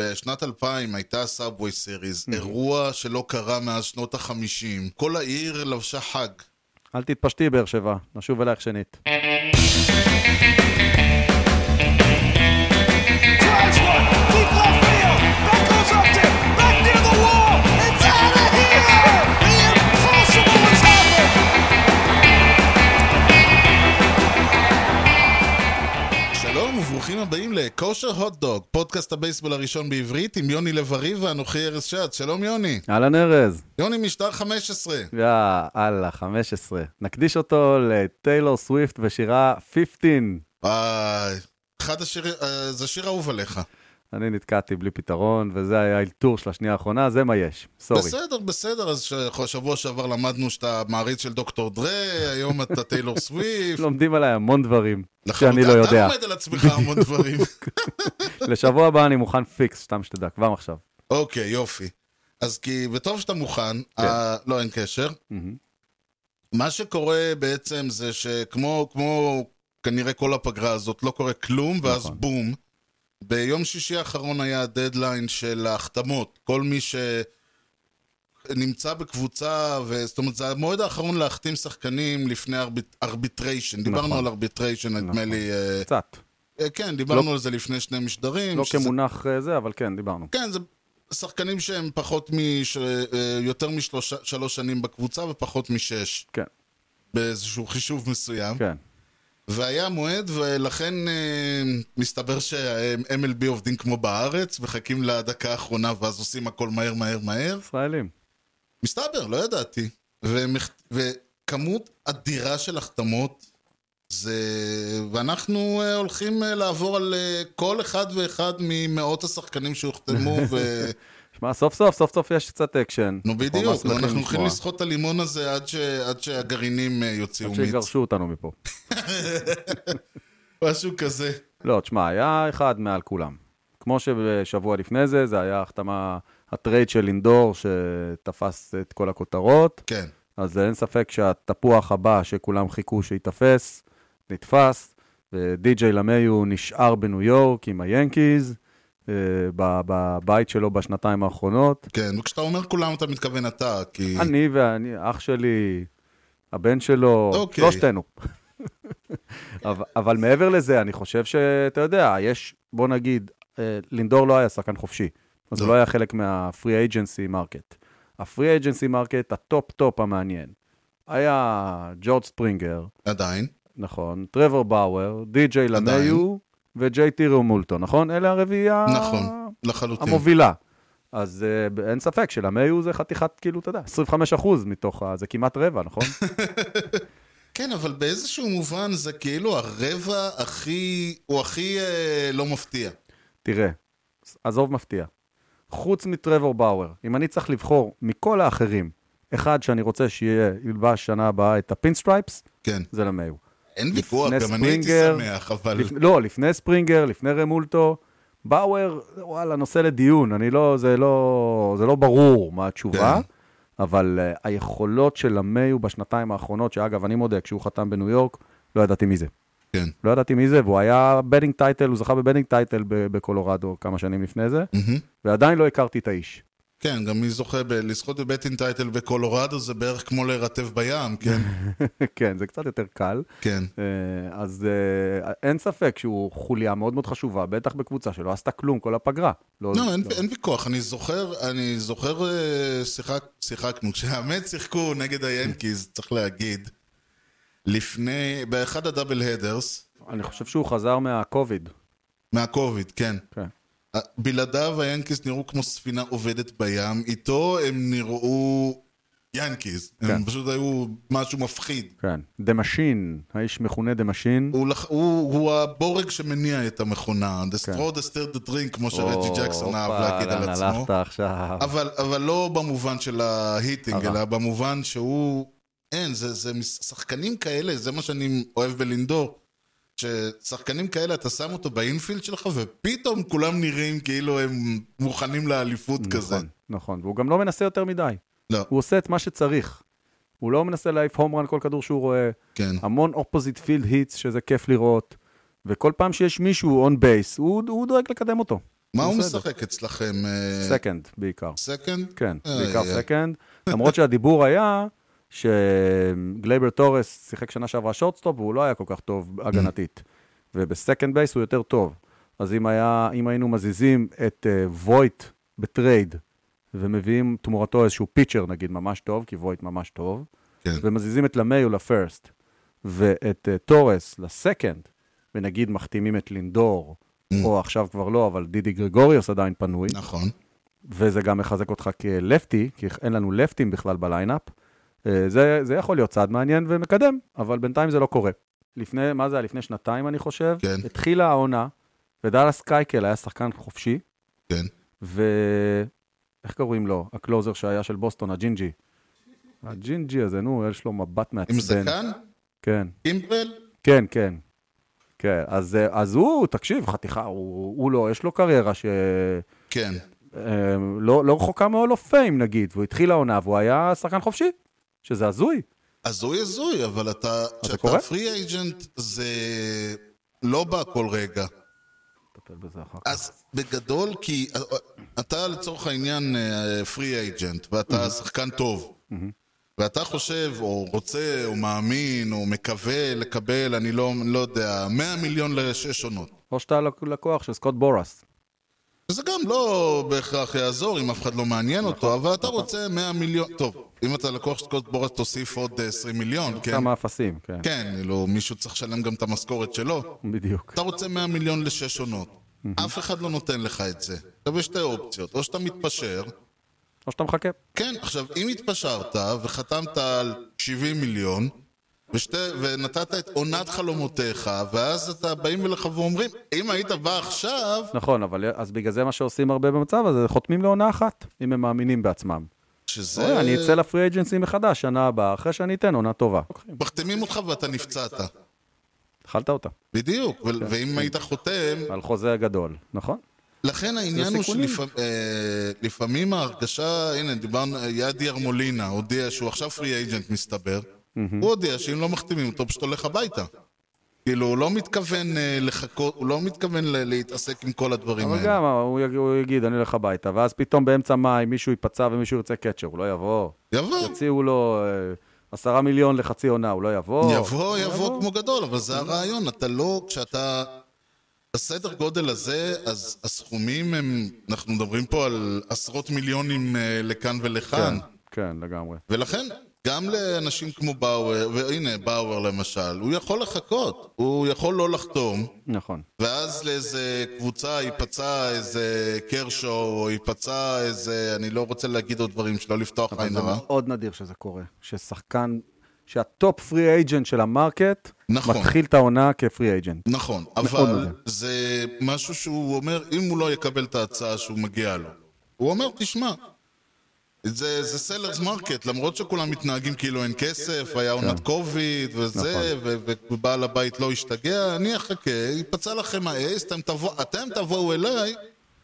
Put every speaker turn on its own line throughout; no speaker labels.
בשנת 2000 הייתה סאבווי
Mhm.
סיריז, אירוע שלא קרה מאז שנות ה-50. כל העיר לבשה חג.
אל תתפשטי, באר שבע, נשוב אלייך שנית.
Drives one, deep left field. That goes up to, back near the wall. It's out of here. The impossible has happened.
שלום וברוכים הבאים לכושר הוטדוג, פודקאסט הבייסבול הראשון בעברית עם יוני לב-ארי ואנוכי ארז שעד. שלום יוני.
אהלן ארז,
יוני משטר 15.
יאללה, 15. נקדיש אותו לטיילור סוויפט ושירה 15.
אה, אחד השיר, אה, זה שיר אהוב עליך.
אני נתקעתי בלי פתרון, וזה היה אלתור של השנייה האחרונה, זה מה יש. סורי.
בסדר, בסדר, אז שבוע שעבר למדנו שאתה מעריץ של דוקטור דרי, היום אתה טיילור סוויפט.
לומדים עליי המון דברים לא, שאני
לחלוטין,
לא יודע.
נכון, אתה לומד על עצמך המון דברים.
לשבוע הבא אני מוכן פיקס, סתם שתדע, כבר עכשיו.
אוקיי, יופי. אז כי, וטוב שאתה מוכן,
כן.
אה, לא, אין קשר.
מהמם.
מה שקורה בעצם זה שכמו כמו כנראה כל הפגרה הזאת, לא קורה כלום, ואז
נכון.
בום. ביום שישי האחרון היה הדדליין של ההחתמות. כל מי שנמצא בקבוצה, ו... זאת אומרת, זה המועד האחרון להחתים שחקנים לפני ארביט... ארביטריישן. דיברנו
נכון.
על ארביטריישן, נדמה
נכון.
לי... אה,
קצת.
אה, כן, דיברנו על זה לפני שני משדרים.
לא
שזה-
כמונח אה, זה, אבל כן, דיברנו.
כן, זה שחקנים שהם פחות מש... אה, יותר משלוש שנים בקבוצה ופחות משש.
כן.
באיזשהו חישוב מסוים.
כן.
והיה מועד, ולכן אה, מסתבר שה-MLB עובדים כמו בארץ, מחכים לדקה האחרונה ואז עושים הכל מהר מהר מהר.
ישראלים.
מסתבר, לא ידעתי. ומח... וכמות אדירה של החתמות, זה... ואנחנו אה, הולכים אה, לעבור על אה, כל אחד ואחד ממאות השחקנים שהוחתמו, ו...
שמע, סוף סוף, סוף סוף יש קצת אקשן.
נו
ממש
בדיוק,
שמחים
אנחנו הולכים
לשמוע.
לסחוט את הלימון הזה עד, ש... עד שהגרעינים אה, יוציאו מיץ.
שיגרשו אותנו מפה.
משהו כזה.
לא, תשמע, היה אחד מעל כולם. כמו שבשבוע לפני זה, זה היה החתמה, הטרייד של לינדור שתפס את כל הכותרות,
כן.
אז אין ספק שהתפוח הבא שכולם חיכו שייתפס, נתפס, ודי.ג'יי למיו נשאר בניו יורק עם היאנקיז, אה, ב- בבית שלו בשנתיים האחרונות.
כן, וכשאתה אומר כולם אתה מתכוון אתה, כי...
אני ואני, אח שלי, הבן שלו,
אוקיי.
שלושתנו. אבל, אבל מעבר לזה, אני חושב שאתה יודע, יש, בוא נגיד, אה, לינדור לא היה שחקן חופשי, אז הוא
לא.
לא היה חלק מהפרי אייג'נסי מרקט. הפרי אייג'נסי מרקט, הטופ-טופ המעניין. היה ג'ורד ספרינגר,
עדיין.
נכון, טרוור באואר, די.ג'יי
עדיין.
למיו וג'יי טירו מולטון, נכון? אלה הרביעייה
נכון, לחלוטין.
המובילה. אז אה, ב- אין ספק שלמיו זה חתיכת, כאילו, אתה יודע, 25% מתוך ה... זה כמעט רבע, נכון?
כן, אבל באיזשהו מובן זה כאילו הרבע הכי... הוא הכי אה, לא מפתיע.
תראה, ס- עזוב מפתיע. חוץ מטרוור באואר, אם אני צריך לבחור מכל האחרים, אחד שאני רוצה שיהיה, ילבש שנה הבאה את הפינסטרייפס,
כן.
זה למיו.
אין ויכוח,
לפני
גם אני הייתי
ספרינגר,
שמח, אבל...
לפ... לא, לפני ספרינגר, לפני רמולטו. באואר, וואלה, נושא לדיון, אני לא, זה לא, זה לא ברור מה התשובה,
כן.
אבל uh, היכולות של למיו בשנתיים האחרונות, שאגב, אני מודה, כשהוא חתם בניו יורק, לא ידעתי מי זה.
כן.
לא ידעתי מי זה, והוא היה בדינג טייטל, הוא זכה בבדינג טייטל ב- בקולורדו כמה שנים לפני זה,
מהמם.
ועדיין לא הכרתי את האיש.
כן, גם מי זוכה ב... לזכות בבטין טייטל בקולורדו זה בערך כמו להירטב בים, כן?
כן, זה קצת יותר קל.
כן.
אה, אז אה, אין ספק שהוא חוליה מאוד מאוד חשובה, בטח בקבוצה שלא עשתה כלום כל הפגרה. לא,
לא, אין, אין ויכוח, אני זוכר, אני זוכר אה, שיחק, שיחקנו, כשהמט שיחקו נגד היאנקיז, צריך להגיד, לפני, באחד הדאבל הדרס,
אני חושב שהוא חזר מהקוביד.
מהקוביד, כן.
כן.
אה, בלעדיו היאנקיז נראו כמו ספינה עובדת בים, איתו הם נראו יאנקיז, הם
כן.
פשוט היו משהו מפחיד.
כן. דה משין, האיש מכונה דה משין.
הוא, לח... הוא, הוא הבורג שמניע את המכונה, The
כן.
straw that stirred the drink, כמו שרג'י ג'קסון אהב להגיד על עצמו.
הלכת עכשיו.
אבל, אבל לא במובן של ההיטינג,
אבל.
אלא במובן שהוא... אין, זה, זה מס- שחקנים כאלה, זה מה שאני אוהב בלינדור. ששחקנים כאלה, אתה שם אותו באינפילד שלך, ופתאום כולם נראים כאילו הם מוכנים לאליפות כזה.
נכון, נכון, והוא גם לא מנסה יותר מדי.
לא,
הוא עושה את מה שצריך. הוא לא מנסה להעיף הום רן כל כדור שהוא רואה.
כן.
המון אופוזיט פילד היטס, שזה כיף לראות. וכל פעם שיש מישהו און בייס, הוא הוא דואג לקדם אותו.
מה הוא
בסדר.
משחק אצלכם?
סקנד בעיקר.
סקנד?
כן,
אה,
בעיקר
אה.
סקנד. למרות שהדיבור היה שגלייבר טורס שיחק שנה שעברה שורטסטופ והוא לא היה כל כך טוב הגנתית. ובסקנד בייס הוא יותר טוב. אז אם, היה, אם היינו מזיזים את אה, וויט בטרייד ומביאים תמורתו איזשהו פיצ'ר נגיד ממש טוב, כי וויט ממש טוב,
כן.
ומזיזים את למיו לפרסט ואת אה, תורס לסקנד, ונגיד מחתימים את לינדור,
Mm.
או עכשיו כבר לא, אבל דידי גרגוריוס עדיין פנוי.
נכון.
וזה גם מחזק אותך כלפטי, כי אין לנו לפטים בכלל בליינאפ. אה, זה, זה יכול להיות צעד מעניין ומקדם, אבל בינתיים זה לא קורה. לפני, מה זה היה? לפני שנתיים, אני חושב.
כן.
התחילה העונה, ודאלאס קייקל היה שחקן חופשי,
כן.
ו... איך קוראים לו? הקלוזר שהיה של בוסטון, הג'ינג'י. הג'ינג'י הזה, נו, יש לו מבט מעצבן.
עם זקן?
כן.
קימברל?
כן, כן. כן, אז, אה, אז הוא, תקשיב, חתיכה, הוא, הוא לא, יש לו קריירה ש...
כן.
אה, לא, לא רחוקה מהול אוף פיים נגיד, והוא התחיל העונה והוא היה שחקן חופשי, שזה הזוי.
הזוי הזוי, אבל אתה...
קורה?
כשאתה פרי אייג'נט זה לא בא כל רגע.
נטפל בזה אחר כך.
אז בגדול, כי אה, אתה לצורך העניין פרי אייג'נט, ואתה שחקן טוב, ואתה חושב, או רוצה, או מאמין, או מקווה לקבל, אני לא, לא יודע, 100 מיליון לשש עונות.
או שאתה לק- לקוח של סקוט בורס.
שזה גם לא בהכרח יעזור אם אף אחד לא מעניין אותו, אבל אתה רוצה 100 מיליון... טוב, אם אתה לקוח של סקוט בורס, תוסיף עוד אה, 20 מיליון, כן?
כמה אפסים, כן,
כן, כאילו, מישהו צריך לשלם גם את המשכורת שלו.
בדיוק.
אתה רוצה 100 מיליון לשש עונות. אף אחד לא נותן לך את זה. עכשיו יש שתי אופציות, או שאתה מתפשר,
או שאתה מחכה.
כן, עכשיו, אם התפשרת וחתמת על 70 מיליון, ושתי, ונתת את עונת חלומותיך, ואז אתה באים אליך ואומרים, אם היית בא עכשיו,
נכון, אבל אז בגלל זה מה שעושים הרבה במצב הזה, חותמים לעונה אחת, אם הם מאמינים בעצמם.
שזה...
אה, אני אצא לפרי אג'נסי מחדש שנה הבאה, אחרי שאני אתן עונה טובה.
מחתימים אותך ואתה נפצעת.
אכלת אותה,
בדיוק, ו- ואם היית חותם...
על חוזה גדול, נכון?
לכן העניין הוא
סיכונים.
שלפעמים ההרגשה, הנה, דיברנו, ידי ארמולינה הודיע שהוא עכשיו פרי אייג'נט מסתבר, הוא הודיע שאם לא מחתימים אותו, הוא פשוט הולך הביתה. כאילו, הוא לא מתכוון אה, לחכות, הוא לא מתכוון ל- להתעסק עם כל הדברים
אבל
האלה.
גם הוא יג- הוא יגיד, אני הולך הביתה, ואז פתאום באמצע מאי מישהו ייפצע ומישהו ירצה קצ'ר, הוא לא יבוא.
יבוא,
יציעו לו אה, עשרה מיליון לחצי עונה, הוא לא יבוא.
יבוא, יבוא כמו גדול, אבל זה הרעיון, אתה לא, כשאתה... בסדר גודל הזה, אז הסכומים הם, אנחנו מדברים פה על עשרות מיליונים אה, לכאן ולכאן.
כן, כן, לגמרי.
ולכן, גם לאנשים כמו באואר, והנה, באואר למשל, הוא יכול לחכות, הוא יכול לא לחתום,
נכון.
ואז לאיזה קבוצה ייפצע איזה קרשו, או ייפצע איזה, אני לא רוצה להגיד עוד דברים, שלא לפתוח
אבל
עין
זה
הרע.
מאוד נדיר שזה קורה, ששחקן, שהטופ פרי אייג'נט של המרקט,
נכון.
מתחיל את העונה כפרי אייג'נט.
נכון,
כן. מאוד
אבל
נדיר.
זה משהו שהוא אומר, אם הוא לא יקבל את ההצעה שהוא מגיע לו, הוא אומר, תשמע, זה, זה סלרס מרקט, למרות שכולם מתנהגים כאילו אין כסף,
כן.
היה עונת קוביד וזה,
נכון.
ו- ו- ובעל הבית לא השתגע, אני אחכה, ייפצע לכם האייס, אתם, תבוא, אתם תבואו אליי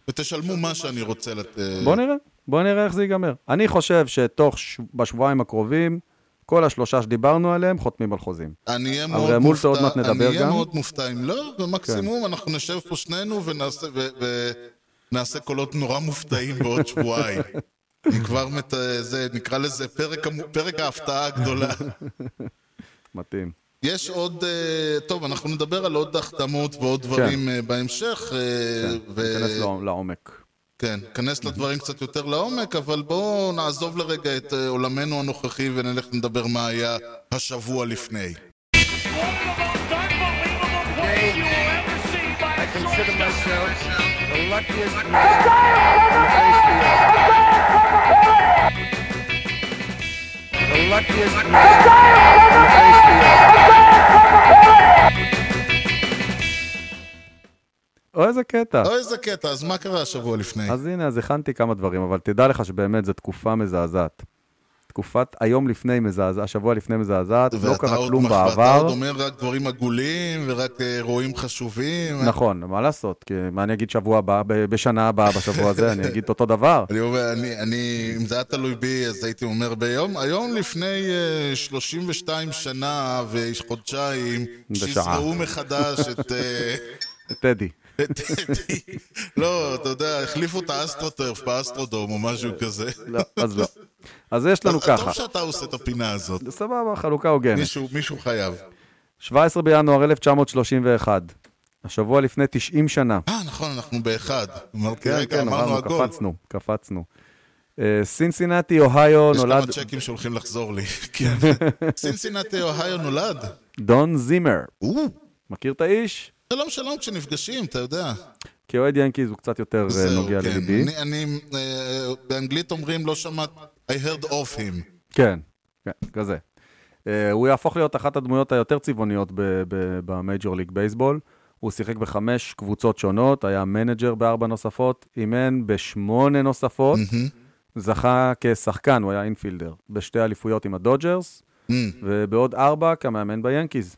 ותשלמו מה שאני רוצה לת...
בוא נראה, בוא נראה איך זה ייגמר. אני חושב שתוך, ש- בשבועיים הקרובים, כל השלושה שדיברנו עליהם חותמים על חוזים.
אני אהיה
אבל
מאוד
מולטה עוד מעט
מופתע, אני
נדבר
אהיה
גם. כן.
מאוד מופתע אם לא, ומקסימום אנחנו נשב פה שנינו ונעשה, ו- ו- נעשה קולות נורא מופתעים בעוד שבועיים. אני כבר מת... זה, נקרא לזה פרק, המו- פרק ההפתעה הגדולה.
מתאים.
יש עוד, אה, טוב, אנחנו נדבר על עוד החתמות ועוד דברים אה, בהמשך, אה,
כן. ניכנס
ו...
לעומ- לעומק. Mm-hmm.
כן, ניכנס לדברים קצת יותר לעומק, אבל בואו נעזוב לרגע את אה, עולמנו הנוכחי ונלך לדבר מה היה השבוע לפני.
אה.
unbelievable plays you will ever see by a
consider
shortstop.
myself the luckiest man. The luckiest man. in the face of the earth.
או, איזה קטע.
לא איזה קטע, אז מה קרה השבוע לפני?
אז הנה, אז הכנתי כמה דברים, אבל תדע לך שבאמת זו תקופה מזעזעת. תקופת היום לפני מזעזעת, השבוע לפני מזעזעת, לא
ואתה
קרה
עוד
כלום
מח- ואתה
בעבר.
עוד אומר רק דברים עגולים ורק אה, אירועים חשובים.
נכון, מה לעשות? כי מה אני אגיד שבוע הבא, ב- בשנה הבאה, בשבוע הזה, אני אגיד אותו דבר.
אני אומר, אני, אני, אם זה היה תלוי בי, אז הייתי אומר ביום, היום לפני אה, 32 שנה וחודשיים,
בשעה.
שיזרעו מחדש את... אה,
טדי.
לא, אתה יודע, החליפו את האסטרוטרף באסטרודום או משהו כזה.
לא, אז לא. אז יש לנו
אז
ככה, לא.
טוב שאתה עושה את הפינה הזאת.
סבבה, חלוקה הוגנת.
מישהו מישהו חייב.
17 בינואר 1931, השבוע לפני 90 שנה.
אה, נכון, אנחנו באחד. אמרתי,
כן,
רגע,
כן,
אמרנו
אמרנו,
עגול.
קפצנו, קפצנו. אה, סינסינטי, אוהיו,
יש כמה
נולד
צ'קים שהולכים לחזור לי. כן. סינסינטי אוהיו נולד.
דון זימר.
או,
מכיר את האיש?
שלום שלום כשנפגשים, אתה יודע.
כאוהד ינקיז הוא קצת יותר אה,
זהו,
נוגע
כן.
לליבי.
אני- אני, אה, באנגלית אומרים, לא שמעת, I heard of him.
כן, כן, כזה. אה, הוא יהפוך להיות אחת הדמויות היותר צבעוניות ב- ב- במייג'ור ליג בייסבול. הוא שיחק בחמש קבוצות שונות, היה מנג'ר בארבע נוספות, אימן בשמונה נוספות, זכה כשחקן, הוא היה אינפילדר, בשתי אליפויות עם הדודג'רס, ובעוד ארבע כמאמן ביאנקיז.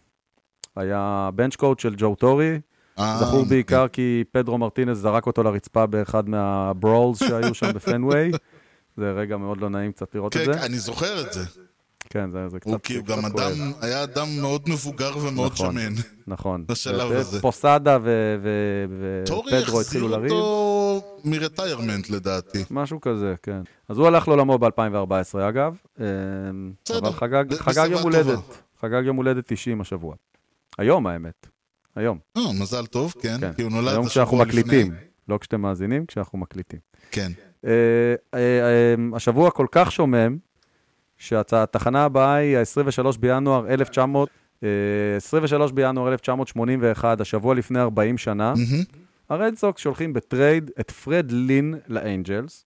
היה בנץ' קואוט של ג'ו טורי,
אה,
זכור
כן.
בעיקר כי פדרו מרטינס זרק אותו לרצפה באחד מהברולס שהיו שם בפנוויי. זה רגע מאוד לא נעים קצת לראות את
כן,
זה.
אני זוכר את זה.
כן, זה, זה קצת...
הוא כי הוא
קצת
גם
כואב.
אדם, היה אדם מאוד מבוגר ומאוד
נכון.
שמן.
נכון.
בשלב
ו-
הזה.
פוסאדה ו- ו- ו-
טורי
ופדרו
החזיר
התחילו לריב.
אותו מרטיירמנט לדעתי.
משהו כזה, כן. אז הוא הלך לעולמו ב-2014, אגב. אה,
בסדר,
אבל חגג,
ב-
חגג
בשיבה
יום
טובה.
הולדת. חגג יום הולדת 90 השבוע. היום, האמת. היום,
אה, מזל טוב, כן.
כן.
כי הוא נולד
היום
השבוע
כשאנחנו
לפני.
מקליטים. לא כשאתם מאזינים, כשאנחנו מקליטים.
כן.
אה, אה, אה, השבוע כל כך שומם, שהתחנה הבאה היא ה-23 בינואר 1900, אה, 23 בינואר 1981, השבוע לפני 40 שנה, הרד סוקס שולחים בטרייד את פרד לין לאנג'לס,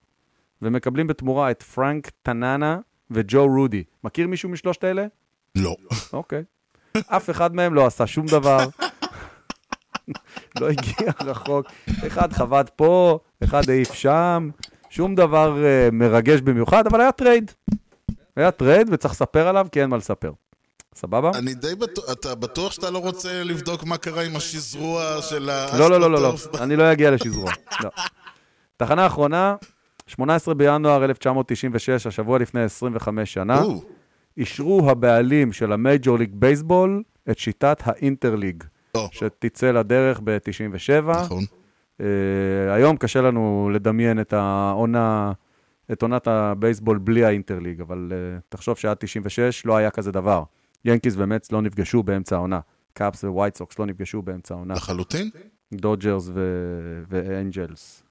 ומקבלים בתמורה את פרנק טננה וג'ו רודי. מכיר מישהו משלושת אלה?
לא.
אוקיי. אף אחד מהם לא עשה שום דבר. לא הגיע רחוק. אחד חבט פה, אחד העיף שם, שום דבר uh, מרגש במיוחד, אבל היה טרייד. היה טרייד וצריך לספר עליו, כי אין מה לספר. סבבה?
אני די בטוח, אתה בטוח שאתה לא רוצה לבדוק מה קרה עם השזרוע של האסטרוטרף?
לא, לא, לא, לא, לא, אני לא אגיע לשזרוע. לא. תחנה אחרונה, 18 בינואר 1996, השבוע לפני 25 שנה,
או,
אישרו הבעלים של המייג'ור ליג בייסבול את שיטת האינטרליג.
או,
שתצא לדרך ב-97.
לא. נכון.
אה, היום קשה לנו לדמיין את העונה, את עונת הבייסבול בלי האינטרליג, אבל אה, תחשוב שעד 96 לא היה כזה דבר. ינקיס ומץ לא נפגשו באמצע העונה. קאפס ווייט סוקס לא נפגשו באמצע העונה.
לחלוטין?
דודג'רס ו- ואנג'לס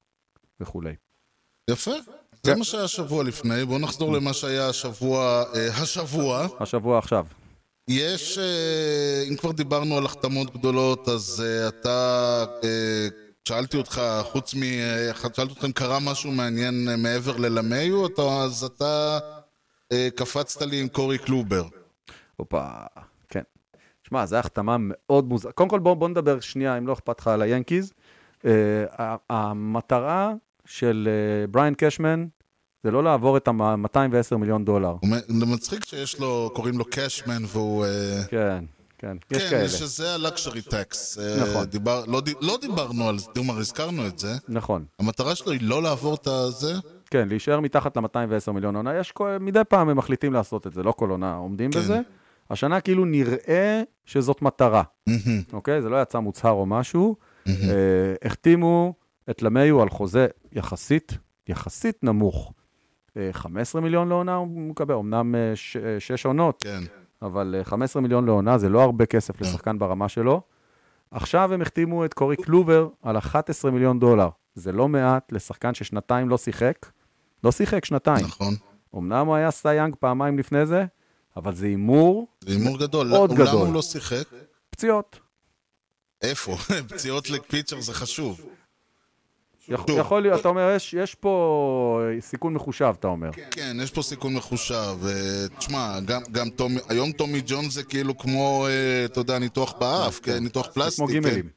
וכולי.
יפה. זה
כן.
מה שהיה השבוע לפני, בואו נחזור למה שהיה השבוע, אה, השבוע.
השבוע עכשיו.
יש, אה, אם כבר דיברנו על החתמות גדולות, אז אה, אתה, אה, שאלתי אותך, חוץ מ... אה, שאלתי אותך אם קרה משהו מעניין אה, מעבר ללמיו, אתה- אז אתה אה, קפצת לי עם קורי קלובר.
הופה, כן. שמע, זו החתמה מאוד מוזרה. קודם כל, בוא, בוא נדבר שנייה, אם לא אכפת לך, על היאנקיז. Uh, המטרה של uh, בריאן קשמן זה לא לעבור את ה-210 מיליון דולר.
הוא מ- זה מצחיק שיש לו, קוראים לו קאשמן והוא... אה,
כן, כן, יש
כן,
כאלה.
שזה הלקשרי טקס.
נכון.
אה, לא דיברנו על זה, כלומר הזכרנו את זה.
נכון.
המטרה שלו היא לא לעבור את הזה.
כן, להישאר מתחת ל-210 מיליון עונה, יש כל, מדי פעם הם מחליטים לעשות את זה, לא כל עונה עומדים
כן.
בזה. השנה כאילו נראה שזאת מטרה,
מהמם.
אוקיי? זה לא יצא מוצהר או משהו. אה, החתימו את למיו על חוזה יחסית, יחסית נמוך. אה, 15 מיליון לעונה הוא מקבל, אמנם אה, ש- אה, שש עונות,
כן.
אבל אה, 15 מיליון לעונה זה לא הרבה כסף לשחקן ברמה שלו. עכשיו הם החתימו את קורי קלובר על 11 מיליון דולר. זה לא מעט לשחקן ששנתיים לא שיחק. לא שיחק שנתיים.
נכון.
אמנם הוא היה סייאנג פעמיים לפני זה, אבל זה הימור
זה הימור גדול.
מאוד
אולם
גדול.
הוא לא שיחק.
פציעות.
איפה? פציעות לפיצ'ר זה חשוב.
יכול,
שוב.
יכול להיות, אתה אומר, יש, יש פה אה, סיכון מחושב, אתה אומר.
כן, יש פה סיכון מחושב. אה, תשמע, גם, גם טומי, היום טומי ג'ון זה כאילו כמו, אה, אתה יודע, ניתוח באף, כן, ניתוח פלסטיק.
כמו
כן.
גימלים.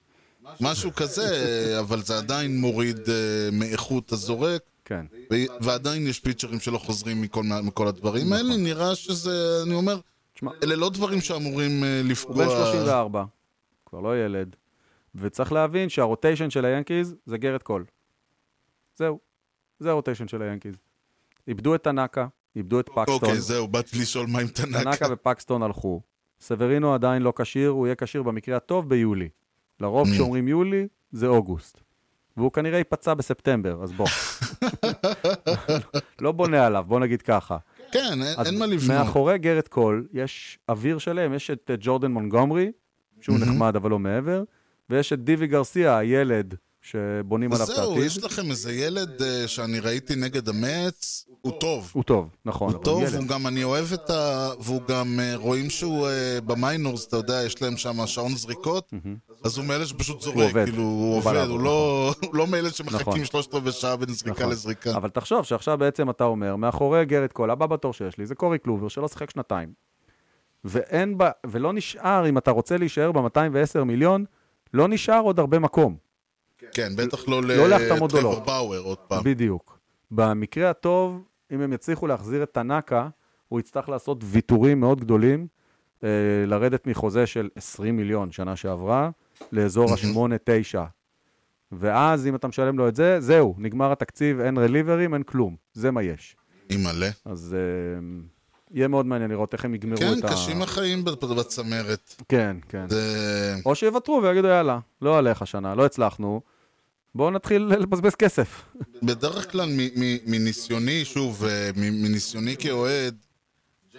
משהו כזה, אה, אבל זה עדיין מוריד אה, מאיכות הזורק,
כן.
ו- ועדיין יש פיצ'רים שלא חוזרים מכל, מה- מכל הדברים האלה. נראה שזה, אני אומר,
נכון. תשמע,
אלה לא דברים שאמורים אה, לפגוע...
הוא בן 34, כבר לא ילד, וצריך להבין שהרוטיישן של היאנקיז זה גרד קול. זהו, זה הרוטיישן של היאנקיז. איבדו את טנאקה, איבדו את פקסטון,
אוקיי, זהו, באתי לשאול מה עם טנאקה.
טנאקה ופקסטון הלכו. סברינו עדיין לא כשיר, הוא יהיה כשיר במקרה הטוב ביולי. לרוב
Mm.
כשאומרים יולי, זה אוגוסט. והוא כנראה ייפצע בספטמבר, אז בוא. לא בונה עליו, בוא נגיד ככה.
כן, אין-
אז
אין מה לבנות.
מאחורי גרד קול יש אוויר שלם, יש את אה, ג'ורדן מונגומרי, שהוא נחמד אבל לא מעבר, ויש את דיבי גרסיה, הילד שבונים עליו את
זהו,
העתיד.
יש לכם איזה ילד אה, שאני ראיתי נגד המץ, הוא טוב.
הוא טוב, נכון,
הוא
אבל
טוב,
ילד.
הוא גם, אני אוהב את ה... והוא גם, אה, רואים שהוא אה, במיינורס, אתה יודע, יש להם שם שעון זריקות, אז הוא מאלה שפשוט זורק,
עובד.
כאילו,
הוא
הוא עובד,
בלם,
הוא לא- הוא לא מאלה
נכון.
שמחכים שלושת רבעי שעה בין זריקה
נכון.
לזריקה.
אבל תחשוב שעכשיו בעצם אתה אומר, מאחורי גרד קול, הבא בתור שיש לי, זה קורי קלובר, שלא שיחק שנתיים. ואין בה, ולא נשאר, אם אתה רוצה להישאר ב-210 מיליון, לא נשאר עוד הרבה מקום,
כן, בטח לא
לא להחתמות
לטרבור
גדולות.
באואר עוד פעם.
בדיוק. במקרה הטוב, אם הם יצליחו להחזיר את טנאקה, הוא יצטרך לעשות ויתורים מאוד גדולים, אה, לרדת מחוזה של 20 מיליון שנה שעברה, לאזור ה-8-9. ואז אם אתה משלם לו את זה, זהו, נגמר התקציב, אין רליברים, אין כלום, זה מה יש.
אימא'לה.
אז אה, יהיה מאוד מעניין לראות איך הם יגמרו את
כן,
ה...
קשים החיים בצמרת.
כן, כן.
זה...
או שיוותרו ויגידו, יאללה, לא עליך שנה, לא הצלחנו, בואו נתחיל לבזבז כסף.
בדרך כלל מ- מ- מניסיוני, שוב, אה, מ- מניסיוני כאוהד,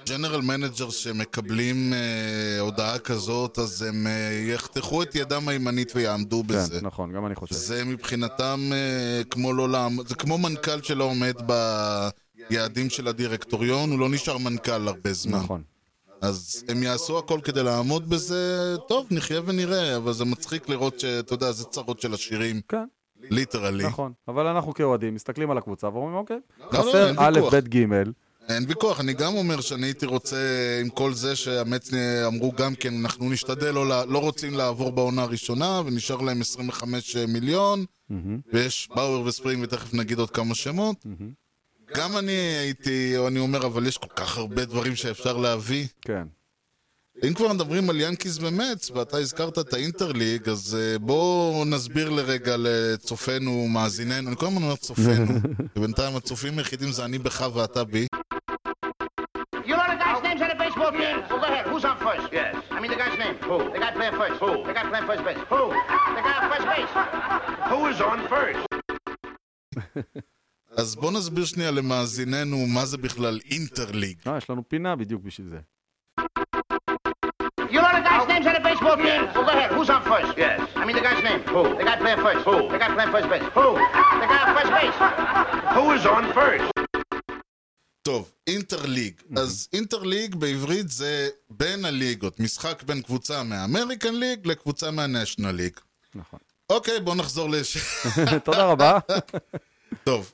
ג'נרל מנג'ר שמקבלים אה, הודעה כזאת, אז הם אה, יחתכו את ידם הימנית ויעמדו בזה.
כן, נכון, גם אני חושב.
זה מבחינתם אה, כמו לא לעמוד, זה כמו מנכ"ל שלא עומד ביעדים של הדירקטוריון, הוא לא נשאר מנכ"ל הרבה זמן.
נכון.
אז הם יעשו הכל כדי לעמוד בזה, טוב, נחיה ונראה, אבל זה מצחיק לראות שאתה יודע, זה צרות של עשירים,
כן,
ליטרלי.
נכון. אבל אנחנו כאוהדים מסתכלים על הקבוצה ואומרים, אוקיי,
לא,
חסר
אין
א',
ויכוח.
ב', ג',
אין ויכוח, אני גם אומר שאני הייתי רוצה, עם כל זה שהמץ אמרו גם כן, אנחנו נשתדל, לא, לה- לא רוצים לעבור בעונה הראשונה, ונשאר להם 25 מיליון, ויש באואר וספרינג, ותכף נגיד עוד כמה שמות. גם אני הייתי, אני אומר, אבל יש כל כך הרבה דברים שאפשר להביא.
כן.
אם כבר מדברים על ינקיס ומץ, ואתה הזכרת את האינטרליג, אז אה, בואו נסביר לרגע לצופינו, מאזיננו, אני כל הזמן אומר צופינו, כי בינתיים הצופים היחידים זה אני בך ואתה בי.
You know the guy's names on the baseball team? Well, go ahead. Who's on first? Yes. I mean the guy's name. Who? The guy playing first. Who? The guy playing first base. Who? The guy on first base.
Who is on first?
אז בוא נסביר שנייה למאזיננו מה זה בכלל אינטרליג.
אה, יש לנו פינה בדיוק בשביל זה.
You know the guy's names on the baseball team? Well, go ahead. Who's on first? Yes. I mean the guy's name. Who? The guy playing first. Who? The guy playing first base. Who? The guy on first base.
Who is on first?
טוב, אינטרליג. אז אינטרליג בעברית זה בין הליגות, משחק בין קבוצה מהאמריקן ליג לקבוצה מהנשנל ליג.
נכון.
אוקיי, בוא נחזור לש...
תודה רבה.
טוב.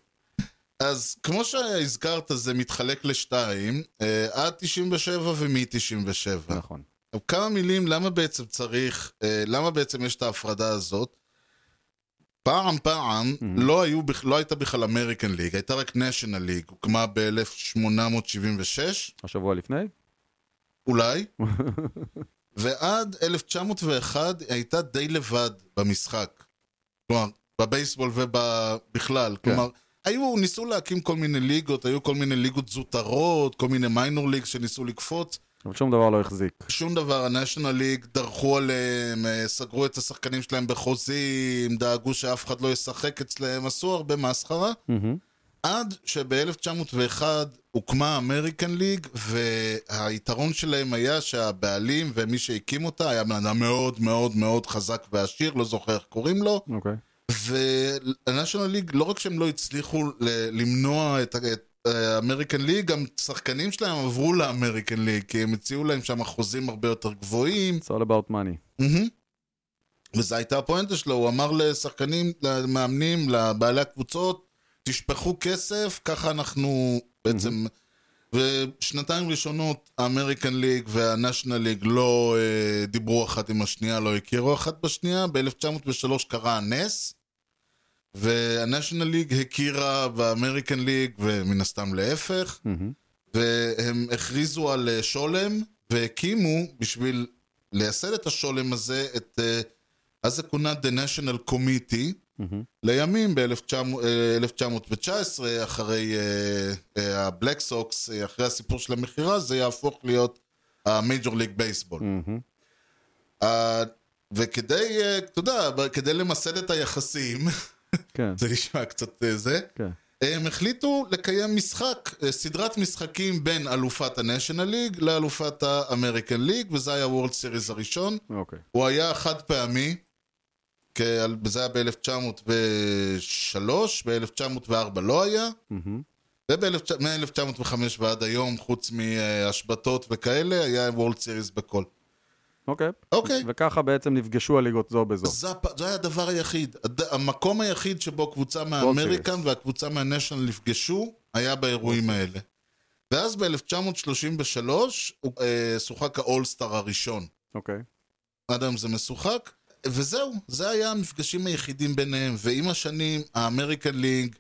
אז כמו שהזכרת, זה מתחלק לשתיים, אה, עד 97 ומ-97.
נכון.
עכשיו, כמה מילים, למה בעצם צריך, אה, למה בעצם יש את ההפרדה הזאת? פעם פעם לא, היו, בכ- לא הייתה בכלל אמריקן ליג, הייתה רק national ליג, הוקמה ב-1876,
השבוע לפני?
אולי, ועד 1901 היא הייתה די לבד במשחק. כלומר, בבייסבול ובכלל.
כן.
כלומר, היו, ניסו להקים כל מיני ליגות, היו כל מיני ליגות זוטרות, כל מיני מיינור ליג שניסו לקפוץ.
אבל שום דבר לא החזיק.
שום דבר, הנשיונל ליג דרכו עליהם, אה, סגרו את השחקנים שלהם בחוזים, דאגו שאף אחד לא ישחק אצלהם, עשו הרבה מסחרה.
מהמם.
עד שב-1901 הוקמה האמריקן ליג, והיתרון שלהם היה שהבעלים ומי שהקים אותה היה בן אדם מאוד מאוד מאוד חזק ועשיר, לא זוכר איך קוראים לו,
אוקיי.
והנשיונל ליג, לא רק שהם לא הצליחו ל- למנוע את ה- את האמריקן ליג, גם שחקנים שלהם עברו לאמריקן ליג, כי הם הציעו להם שם אחוזים הרבה יותר גבוהים.
It's all about money.
מהמם. וזו הייתה הפואנטה שלו, הוא אמר לשחקנים, למאמנים, לבעלי הקבוצות, תשפכו כסף, ככה אנחנו בעצם... ושנתיים ראשונות, האמריקן ליג והנשנל ליג לא אה, דיברו אחת עם השנייה, לא הכירו אחת בשנייה. ב-1903 קרה הנס, והנשנל ליג הכירה באמריקן ליג, ומן הסתם להפך.
מהמם.
והם הכריזו על אה, שולם, והקימו בשביל לייסד את השולם הזה, את... אה, אז זה כונה The National Committee,
מהמם.
לימים אה, ב-1919, אחרי אה, הבלק סוקס, אה, אחרי הסיפור של המכירה, זה יהפוך להיות המייג'ור ליג בייסבול.
מהמם.
וכדי, אה, אתה יודע, ב- כדי למסד את היחסים,
כן,
זה נשמע קצת אה, זה,
כן.
הם החליטו לקיים משחק, אה, סדרת משחקים בין אלופת ה-National League לאלופת ה-American League, וזה היה ה-World Series הראשון.
אוקיי.
הוא היה חד פעמי, כעל- זה היה ב-1903, ב-1904 לא היה,
מהמם.
ומ-1905 ועד היום, חוץ מהשבתות וכאלה, היה וולד סיריס בכל.
אוקיי.
אוקיי.
וככה בעצם נפגשו הליגות זו בזו.
זה הפ- זה היה הדבר היחיד, הד- המקום היחיד שבו קבוצה מהאמריקן והקבוצה מהנשיונל נפגשו, היה באירועים האלה. ואז ב-1933 אה, שוחק האולסטאר הראשון.
אוקיי.
עד היום זה משוחק, וזהו, זה היה המפגשים היחידים ביניהם, ועם השנים האמריקן ליג,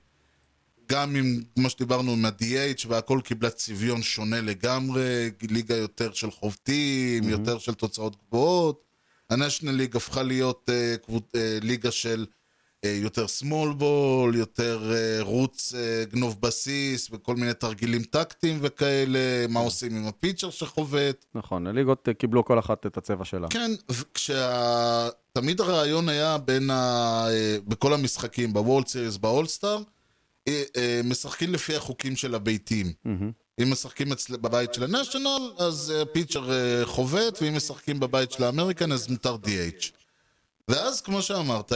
גם עם, כמו שדיברנו, עם ה-DH והכל קיבלה צביון שונה לגמרי, ליגה יותר של חובטים, mm-hmm. יותר של תוצאות גבוהות, הנשנל ליג הפכה להיות uh, קבוצ... uh, ליגה של uh, יותר small ball, יותר uh, רוץ, uh, גנוב בסיס, וכל מיני תרגילים טקטיים וכאלה, מה עושים עם הפיצ'ר שחובט.
נכון, הליגות אה, קיבלו כל אחת את הצבע שלה.
כן, ו- כשה... תמיד הרעיון היה בין ה... אה, בכל המשחקים, בוולד סיריס, באולסטאר, אה, אה, משחקים לפי החוקים של הביתים. אם משחקים אצל... בבית של הנשיונל, אז אה, פיצ'ר אה, חובט, ואם משחקים בבית של האמריקן, אז מותר DH. ואז, כמו שאמרת,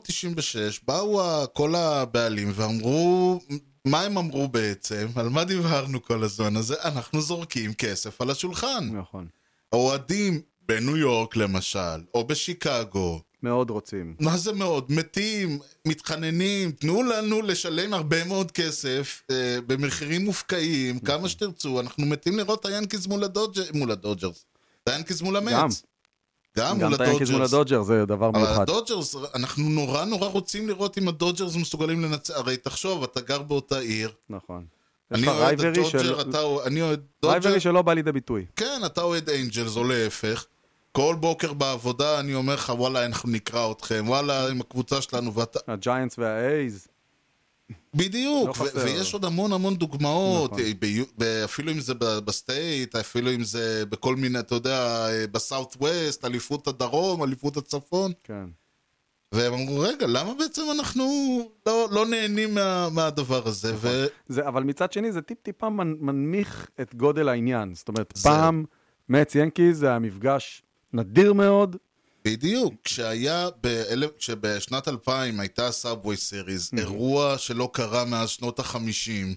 1996, באו ה- כל הבעלים ואמרו, מה הם אמרו בעצם? על מה דיברנו כל הזמן הזה? אנחנו זורקים כסף על השולחן.
נכון.
האוהדים בניו יורק למשל, או בשיקגו,
מאוד רוצים.
מה זה מאוד? מתים, מתחננים, תנו לנו לשלם הרבה מאוד כסף אה, במחירים מופקעים, כמה שתרצו, אנחנו מתים לראות את היאנקיז מול, הדודג'... מול הדודג'רס. את היאנקיז מול המץ.
גם.
גם
גם
מול
את היאנקיז מול
הדודג'רס.
הדודג'ר זה דבר
אבל
מיוחד.
הדודג'רס, אנחנו נורא נורא רוצים לראות אם הדודג'רס מסוגלים לנצח. הרי תחשוב, אתה גר באותה עיר,
נכון. יש
אני
לך
אוהד
רייברי
הדודג'ר,
של-
אתה אוהד... אני אוהד דודג'ר,
רייברי שלא בא לידי ביטוי.
כן, אתה אוהד אינג'לס, או להפך. כל בוקר בעבודה אני אומר לך, וואלה, אנחנו נקרא אתכם, וואלה, עם הקבוצה שלנו, ואתה...
הג'יינטס והאייז.
בדיוק,
לא
ו-
חסר. נכון.
ויש עוד המון המון דוגמאות, אה, ביו- ב- אפילו אם זה ב- בסטייט, אפילו אם זה בכל מיני, אתה יודע, אה, בסאוט ווסט, אליפות הדרום, אליפות הצפון.
כן.
והם אמרו, רגע, למה בעצם אנחנו לא, לא נהנים מה, מהדבר הזה? ו...
זה, אבל מצד שני זה טיפ-טיפה מנ, מנמיך את גודל העניין. זאת אומרת,
זהו.
פעם מאץ ינקיז זה היה מפגש נדיר מאוד,
בדיוק, כשהיה, באלף, כשבשנת 2000 הייתה סאבווי סיריס, אירוע שלא קרה מאז שנות החמישים.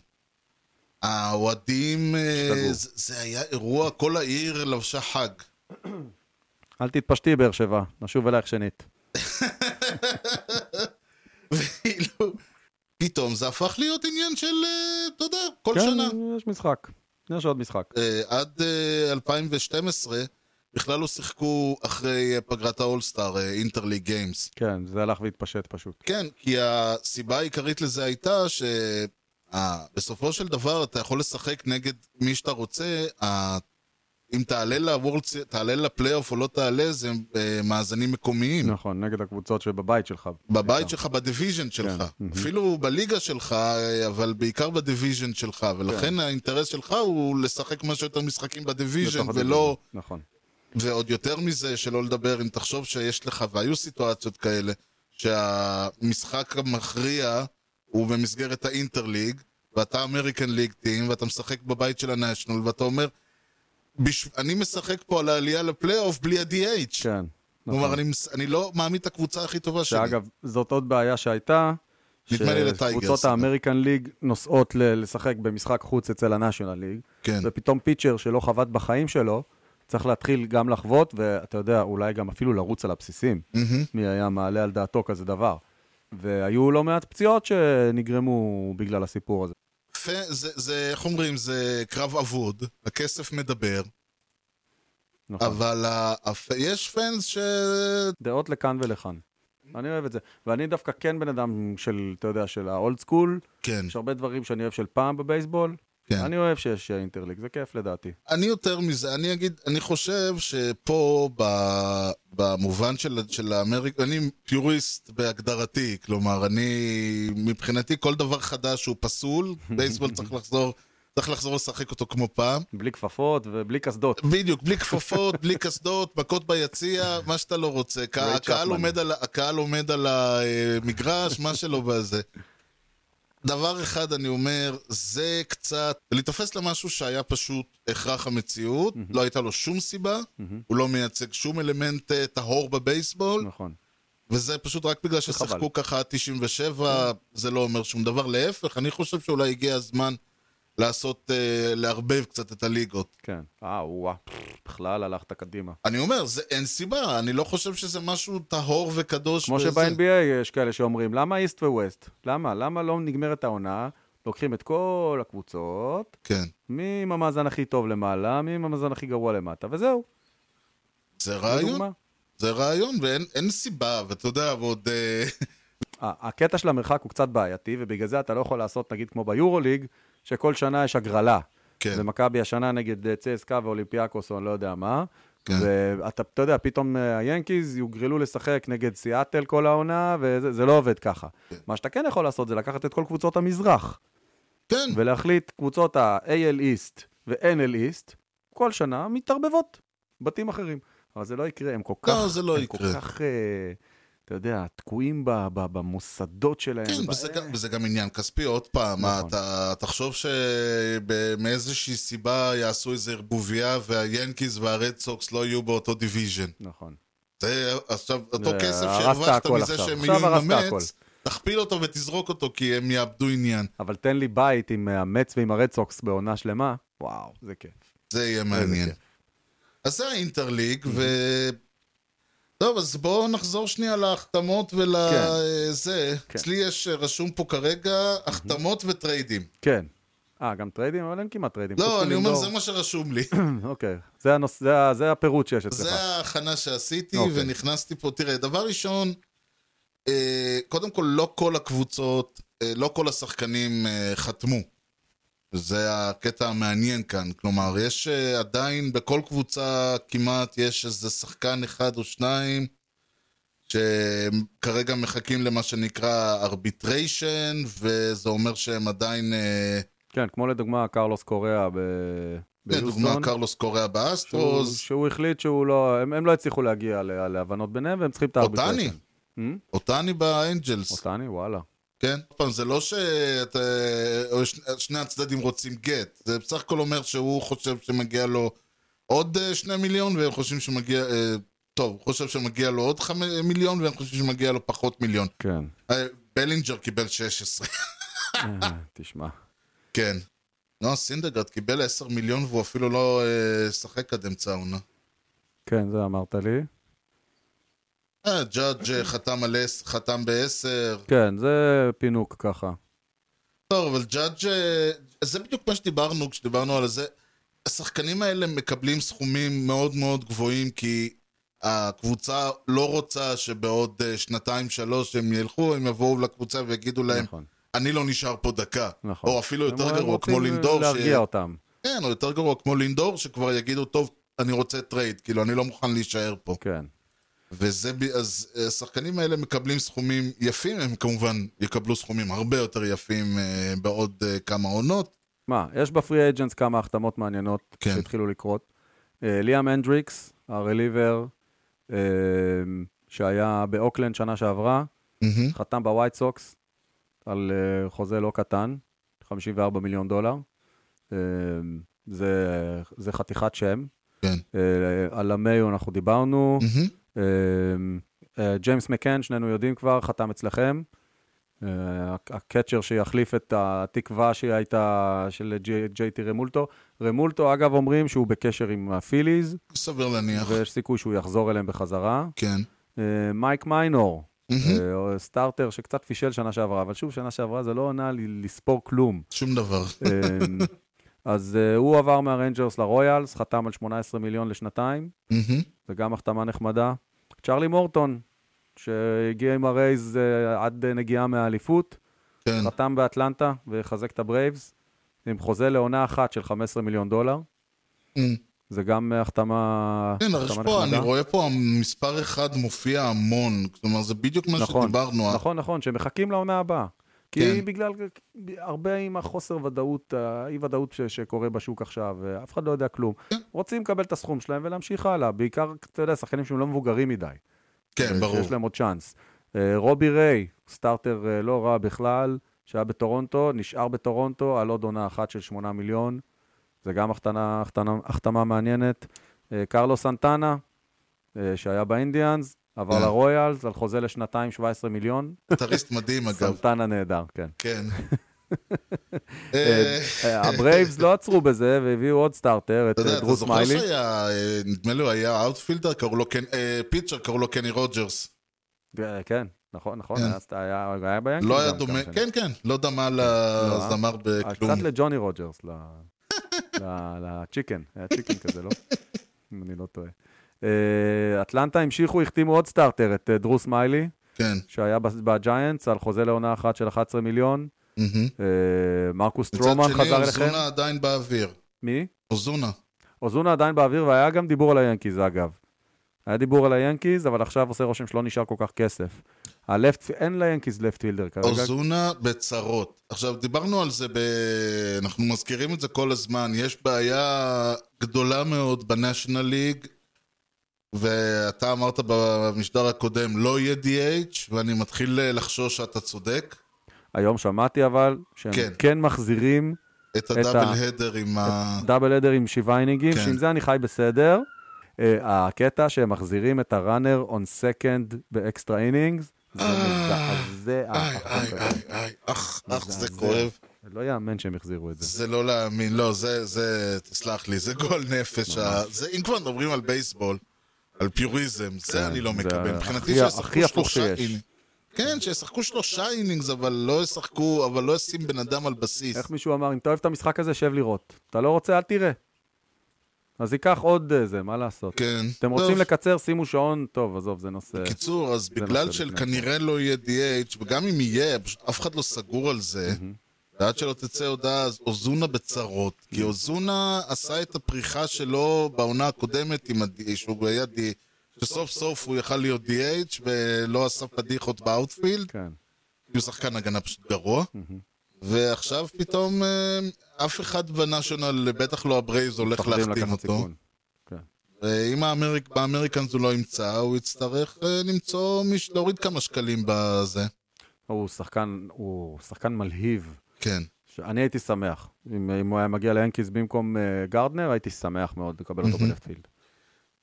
האוהדים, אה,
השתגעו.
זה, זה היה אירוע, כל העיר לבשה חג.
אל תתפשטי באר שבע, נשוב אלייך שנית.
כאילו, פתאום זה הפך להיות עניין של, אה, אתה יודע, כל
כן.
שנה.
יש משחק, יש עוד משחק.
אה, עד אה, 2012 בכלל לא שיחקו אחרי אה, פגרת אה, האולסטאר, אינטרליג גיימס.
כן, זה הלך והתפשט פשוט.
כן, כי הסיבה העיקרית לזה הייתה שבסופו של דבר אתה יכול לשחק נגד מי שאתה רוצה, ה- אם תעלה לוורד, תעלה לפלייאוף או לא תעלה, זה אה, מאזנים מקומיים.
נכון, כן. נגד הקבוצות שבבית שלך.
כן. בבית שלך, בדיוויז'ן שלך. אפילו בליגה שלך, אה, אבל בעיקר בדיוויז'ן שלך,
כן.
ולכן האינטרס שלך הוא לשחק מה שיותר משחקים בדיוויז'ן,
בתוך
ולא...
הדיוויז'ן. נכון.
ועוד יותר מזה, שלא לדבר, אם תחשוב שיש לך, והיו סיטואציות כאלה, שהמשחק המכריע הוא במסגרת האינטרליג, ואתה אמריקן ליג טים, ואתה משחק בבית של הנאשונל, ואתה אומר, בש... אני משחק פה על העלייה לפלייאוף בלי ה-DH.
כן.
כלומר, אני, מס- אני לא מעמיד את הקבוצה הכי טובה שלי.
שאגב, זאת עוד בעיה שהייתה,
נדמה לי לטייגרס.
שקבוצות האמריקן ליג נוסעות ל- לשחק במשחק חוץ אצל הנאשונל ליג,
כן.
ופתאום פיצ'ר שלא חבט בחיים שלו, צריך להתחיל גם לחוות, ואתה יודע, אולי גם אפילו לרוץ על הבסיסים. מי היה מעלה על דעתו כזה דבר. והיו לא מעט פציעות שנגרמו בגלל הסיפור הזה.
זה, זה, זה, איך אומרים, זה קרב אבוד, הכסף מדבר,
נכון.
אבל ה... הפ- יש פאנס ש...
דעות לכאן ולכאן. אני אוהב את זה. ואני דווקא כן בן אדם של, אתה יודע, של האולד סקול.
כן.
יש הרבה דברים שאני אוהב של פעם בבייסבול.
כן.
אני אוהב שיש אה, אינטרליג, זה כיף לדעתי.
אני יותר מזה, אני אגיד, אני חושב שפה, ב, במובן של, של האמריקה, אני פיוריסט בהגדרתי, כלומר, אני, מבחינתי כל דבר חדש הוא פסול, בייסבול צריך לחזור, צריך לחזור לשחק אותו כמו פעם.
בלי כפפות ובלי קסדות.
בדיוק, בלי כפפות, בלי קסדות, מכות ביציע, מה שאתה לא רוצה. כ-
רייצ'אפמן.
הקהל עומד על ה- הקהל עומד על המגרש, מה שלא בזה. דבר אחד אני אומר, זה קצת להיתפס למשהו שהיה פשוט הכרח המציאות, לא הייתה לו שום סיבה, הוא לא מייצג שום אלמנט אה, טהור בבייסבול,
נכון.
וזה פשוט רק בגלל ששיחקו ככה עד 97, זה לא אומר שום דבר. להפך, אני חושב שאולי הגיע הזמן לעשות, אה, לערבב קצת את הליגות.
כן. אה, וואה. בכלל הלכת קדימה.
אני אומר, זה אין סיבה, אני לא חושב שזה משהו טהור וקדוש.
כמו
וזה.
שב-NBA יש כאלה שאומרים, למה איסט וווסט? למה? למה לא נגמרת העונה? לוקחים את כל הקבוצות,
כן.
מי עם המאזן הכי טוב למעלה, מי עם המאזן הכי גרוע למטה, וזהו.
זה
זו
רעיון,
דוגמה.
זה רעיון, ואין אין סיבה, ואתה יודע, ועוד... אה,
אה, הקטע של המרחק הוא קצת בעייתי, ובגלל זה אתה לא יכול לעשות, נגיד, כמו ביורוליג, שכל שנה יש הגרלה.
כן.
זה מכבי השנה נגד אה, צסקה ואולימפיאקוס, או אני לא יודע מה.
כן.
ואתה, אתה יודע, פתאום אה, היאנקיז יוגרלו לשחק נגד סיאטל כל העונה, וזה זה לא עובד ככה. מה שאתה כן יכול לעשות זה לקחת את כל קבוצות המזרח,
כן,
ולהחליט, קבוצות ה-AL East ו-NL East, כל שנה מתערבבות, בתים אחרים. אבל זה לא יקרה, הם כל כך...
זה לא
הם
יקרה.
כל כך, אה, אתה יודע, תקועים ב- ב- במוסדות שלהם.
כן,
וב-
וזה גם- וזה גם עניין כספי, עוד פעם, מה,
נכון.
אתה תחשוב שמאיזושהי סיבה יעשו איזה ערבוביה, והיאנקיז והרד סוקס לא יהיו באותו דיוויז'ן.
נכון.
זה עכשיו, אותו
זה,
כסף
אה, הרסת
שהרווחת
הכל
מזה
עכשיו.
שהם
עכשיו
יהיו עם
הרסת הכל.
המץ, תכפיל אותו ותזרוק אותו, כי הם יאבדו עניין.
אבל תן לי בית עם אה, המץ ועם הרד סוקס בעונה שלמה, וואו, זה כיף.
זה יהיה מעניין.
כיף.
אז זה האינטרליג, ו... טוב, אז בואו נחזור שנייה להחתמות ולזה.
כן.
אצלי יש אה, רשום פה כרגע החתמות וטריידים.
כן. אה, גם טריידים? אבל אין כמעט טריידים. חוץ
לא, אני אומר,
מלינדור.
זה מה שרשום לי.
אוקיי. זה הנוס- זה ה- זה הפירוט שיש אצלך.
זה ההכנה שעשיתי,
אוקיי.
ונכנסתי פה. תראה, דבר ראשון, אה, קודם כל, לא כל הקבוצות, אה, לא כל השחקנים אה, חתמו. זה הקטע המעניין כאן. כלומר, יש אה, עדיין, בכל קבוצה כמעט יש איזה שחקן אחד או שניים, שכרגע מחכים למה שנקרא ארביטריישן, וזה אומר שהם עדיין... אה,
כן, כמו לדוגמה קרלוס קוריאה ב-
לדוגמה,
ביוסטון.
קרלוס קוריאה
שהוא-
באסטרוס,
שהוא החליט שהוא לא, הם הם לא הצליחו להגיע ל- להבנות ביניהם והם צריכים את הארביטרשן.
אותני. אותני באנג'לס.
אותני, וואלה.
כן? עוד פעם, זה לא אה, ששני הצדדים רוצים גט, זה בסך הכל אומר שהוא חושב שמגיע לו עוד אה, שני מיליון, והם חושבים שמגיע... אה, טוב, הוא חושב שמגיע לו עוד חמש מיליון, והם חושבים שמגיע לו פחות מיליון.
כן.
אה, בלינג'ר קיבל 16,
אה, תשמע.
כן. נועה סינדגרד קיבל 10 מיליון והוא אפילו לא אה, שחק עד אמצע העונה.
כן, זה אמרת לי.
אה, ג'אדג' אה, חתם, על עש- חתם ב-10,
כן, זה פינוק ככה.
טוב, אבל ג'אדג' אה, זה בדיוק מה שדיברנו כשדיברנו על זה. השחקנים האלה מקבלים סכומים מאוד מאוד גבוהים כי הקבוצה לא רוצה שבעוד אה, שנתיים שלוש הם ילכו, הם יבואו לקבוצה ויגידו להם,
נכון.
אני לא נשאר פה דקה.
נכון.
או אפילו
הם-
יותר
הם
גרוע כמו
רוצים אה,
לינדור,
להרגיע אותם.
כן, או יותר גרוע כמו לינדור, שכבר יגידו, טוב, אני רוצה טרייד, כאילו, אני לא מוכן להישאר פה.
כן.
וזה, ב- אז אה, השחקנים האלה מקבלים סכומים יפים, הם כמובן יקבלו סכומים הרבה יותר יפים אה, בעוד אה, כמה עונות.
מה, יש בפרי אייג'נס כמה החתמות מעניינות
כן.
כן. שהתחילו לקרות. אה, ליאם הנדריקס, הרליבר, אה, שהיה באוקלנד שנה שעברה,
מהמם.
חתם בווייט סוקס על אה, חוזה לא קטן, 54 מיליון דולר. אה, זה, זה חתיכת שם.
כן. Mm.
אה, על המיו אנחנו דיברנו.
מהמם.
אה, אה, ג'יימס מקן, שנינו יודעים כבר, חתם אצלכם. אה, הק- הקצ'ר שיחליף את התקווה שהייתה של ג'י- ג'יי טי רמולטו. רמולטו, אגב, אומרים שהוא בקשר עם הפיליז,
סביר להניח,
ויש סיכוי שהוא יחזור אליהם בחזרה.
כן.
אה, מייק מיינור,
מהמם.
אה, סטארטר שקצת פישל שנה שעברה, אבל שוב, שנה שעברה זה לא עונה ל- לספור כלום.
שום דבר.
אה, אז אה, הוא עבר מהריינג'רס לרויאלס, חתם על 18 מיליון לשנתיים.
מהמם.
זה גם החתמה נחמדה. צ'רלי מורטון, שהגיע עם הרייז אה, עד אה, נגיעה מהאליפות,
כן.
חתם באטלנטה ויחזק את הברייבס, עם חוזה לעונה אחת של 15 מיליון דולר.
Mm.
זה גם אה, החתמה,
כן,
החתמה
יש פה, אני רואה פה המספר אחד מופיע המון, כלומר זה בדיוק מה
נכון,
שדיברנו, אה?
נכון, נכון, שמחכים לעונה הבאה. כי
כן.
בגלל, הרבה עם החוסר ודאות, אה, האי-ודאות ש- שקורה בשוק עכשיו, אף אחד לא יודע כלום.
כן.
רוצים לקבל את הסכום שלהם ולהמשיך הלאה, בעיקר, אתה יודע, שחקנים שהם לא מבוגרים מדי.
כן, ברור.
שיש להם עוד צ'אנס. אה, רובי ריי, סטארטר אה, לא רע בכלל, שהיה בטורונטו, נשאר בטורונטו על עוד עונה אחת של 8 מיליון. זה גם החתנה, החתנה, החתמה מעניינת. אה, קרלו סנטנה, אה, שהיה באינדיאנס, עבר
כן.
לרויאלס על חוזה לשנתיים 17 מיליון.
טריסט מדהים, אגב.
סנטנה נהדר, כן.
כן.
אה,
אה,
אה, הברייבס לא עצרו בזה והביאו עוד סטארטר, את
אתה יודע,
אה,
אתה
דרו
זוכר
סמיילי.
שהיה, אה, נדמה לי הוא היה אאוטפילדר, קראו לו קן- אה, פיצ'ר, קראו לו קני רוג'רס.
אה, כן, נכון, נכון,
כן.
היה- היה היה ביאנקים.
לא היה
גם
דומה,
כמה שנים.
כן, כן, לא דמה לזמר
אה,
בכלום.
קצת לג'וני רוג'רס, ל- ל- לצ'יקן, היה צ'יקן כזה, לא? אם אני לא טועה. אה, אטלנטה המשיכו, החתימו עוד סטארטר, את אה, דרו סמיילי,
כן.
שהיה בס- בג'יינטס, על חוזה לעונה אחת של 11 מיליון.
מהמם.
אה, מרקוס טרומן
מצד שני,
חזר אליכם.
אוזונה עדיין באוויר.
מי?
אוזונה.
אוזונה עדיין באוויר, והיה גם דיבור על היאנקיז, אגב. היה דיבור על היאנקיז, אבל עכשיו עושה רושם שלא נשאר כל כך כסף. הלפט, אין ליאנקיז לפט פילדר כרגע.
אוזונה בצרות. עכשיו, דיברנו על זה, ב... אנחנו מזכירים את זה כל הזמן, יש בעיה גדולה מאוד בניישנל ליג, ואתה אמרת במשדר הקודם, לא יהיה DH, ואני מתחיל אה, לחשוש שאתה צודק.
היום שמעתי אבל, שהם
כן.
כן מחזירים
את
ה-
הדאבל הדר עם ה...
דאבל אדר עם שבעה אינינגים,
כן.
שעם זה אני חי בסדר. אה, הקטע שהם מחזירים את הראנר און סקנד באקסטרה אינינגס, זה מזעזע.
איי, איי, איי, איי, אך, אך, זה כואב.
לא יאמן שהם החזירו את זה.
זה לא להאמין, לא, זה, זה, תסלח לי, זה גועל נפש. ה... זה, אם כבר מדברים על בייסבול, על פיוריזם, זה אני לא
כן, זה
מקבל. מבחינתי
הכי-
שישחקו
הכי הפוך
שלושה
שיש.
אינינג. כן, שישחקו שלושה אינינגס, אבל לא ישחקו, אבל לא ישים בן אדם על בסיס.
איך מישהו אמר, אם אתה אוהב את המשחק הזה, שב לראות. אתה לא רוצה, אל תראה. אז ייקח עוד אה, זה, מה לעשות.
כן.
אתם
טוב,
רוצים לקצר, שימו שעון, טוב, עזוב, זה נושא...
קיצור, אז בגלל
נושא בפני
שכנראה לא יהיה DH, וגם אם יהיה, פשוט אף אחד לא סגור על זה, ועד שלא תצא הודעה, אז אוזונה בצרות. כי אוזונה עשה את הפריחה שלו בעונה הקודמת עם ה-DH, שהוא היה DH, שסוף סוף הוא יכל להיות DH, ולא עשה פדיחות באאוטפילד, כי
כן.
הוא שחקן הגנה פשוט גרוע. ועכשיו פתאום אה, אף אחד בנאשונל, בטח לא הברייז, הולך
מפחדים
להחתים
לקחת
אותו.
סיכון.
ואם האמריק, באמריקנס הוא לא ימצא, הוא יצטרך אה, למצוא, מיש... להוריד כמה שקלים בזה.
הוא שחקן, הוא שחקן מלהיב.
כן.
שאני הייתי שמח. אם, אם הוא היה מגיע ליאנקיז במקום uh, גרדנר, הייתי שמח מאוד לקבל אותו בלפטפילד.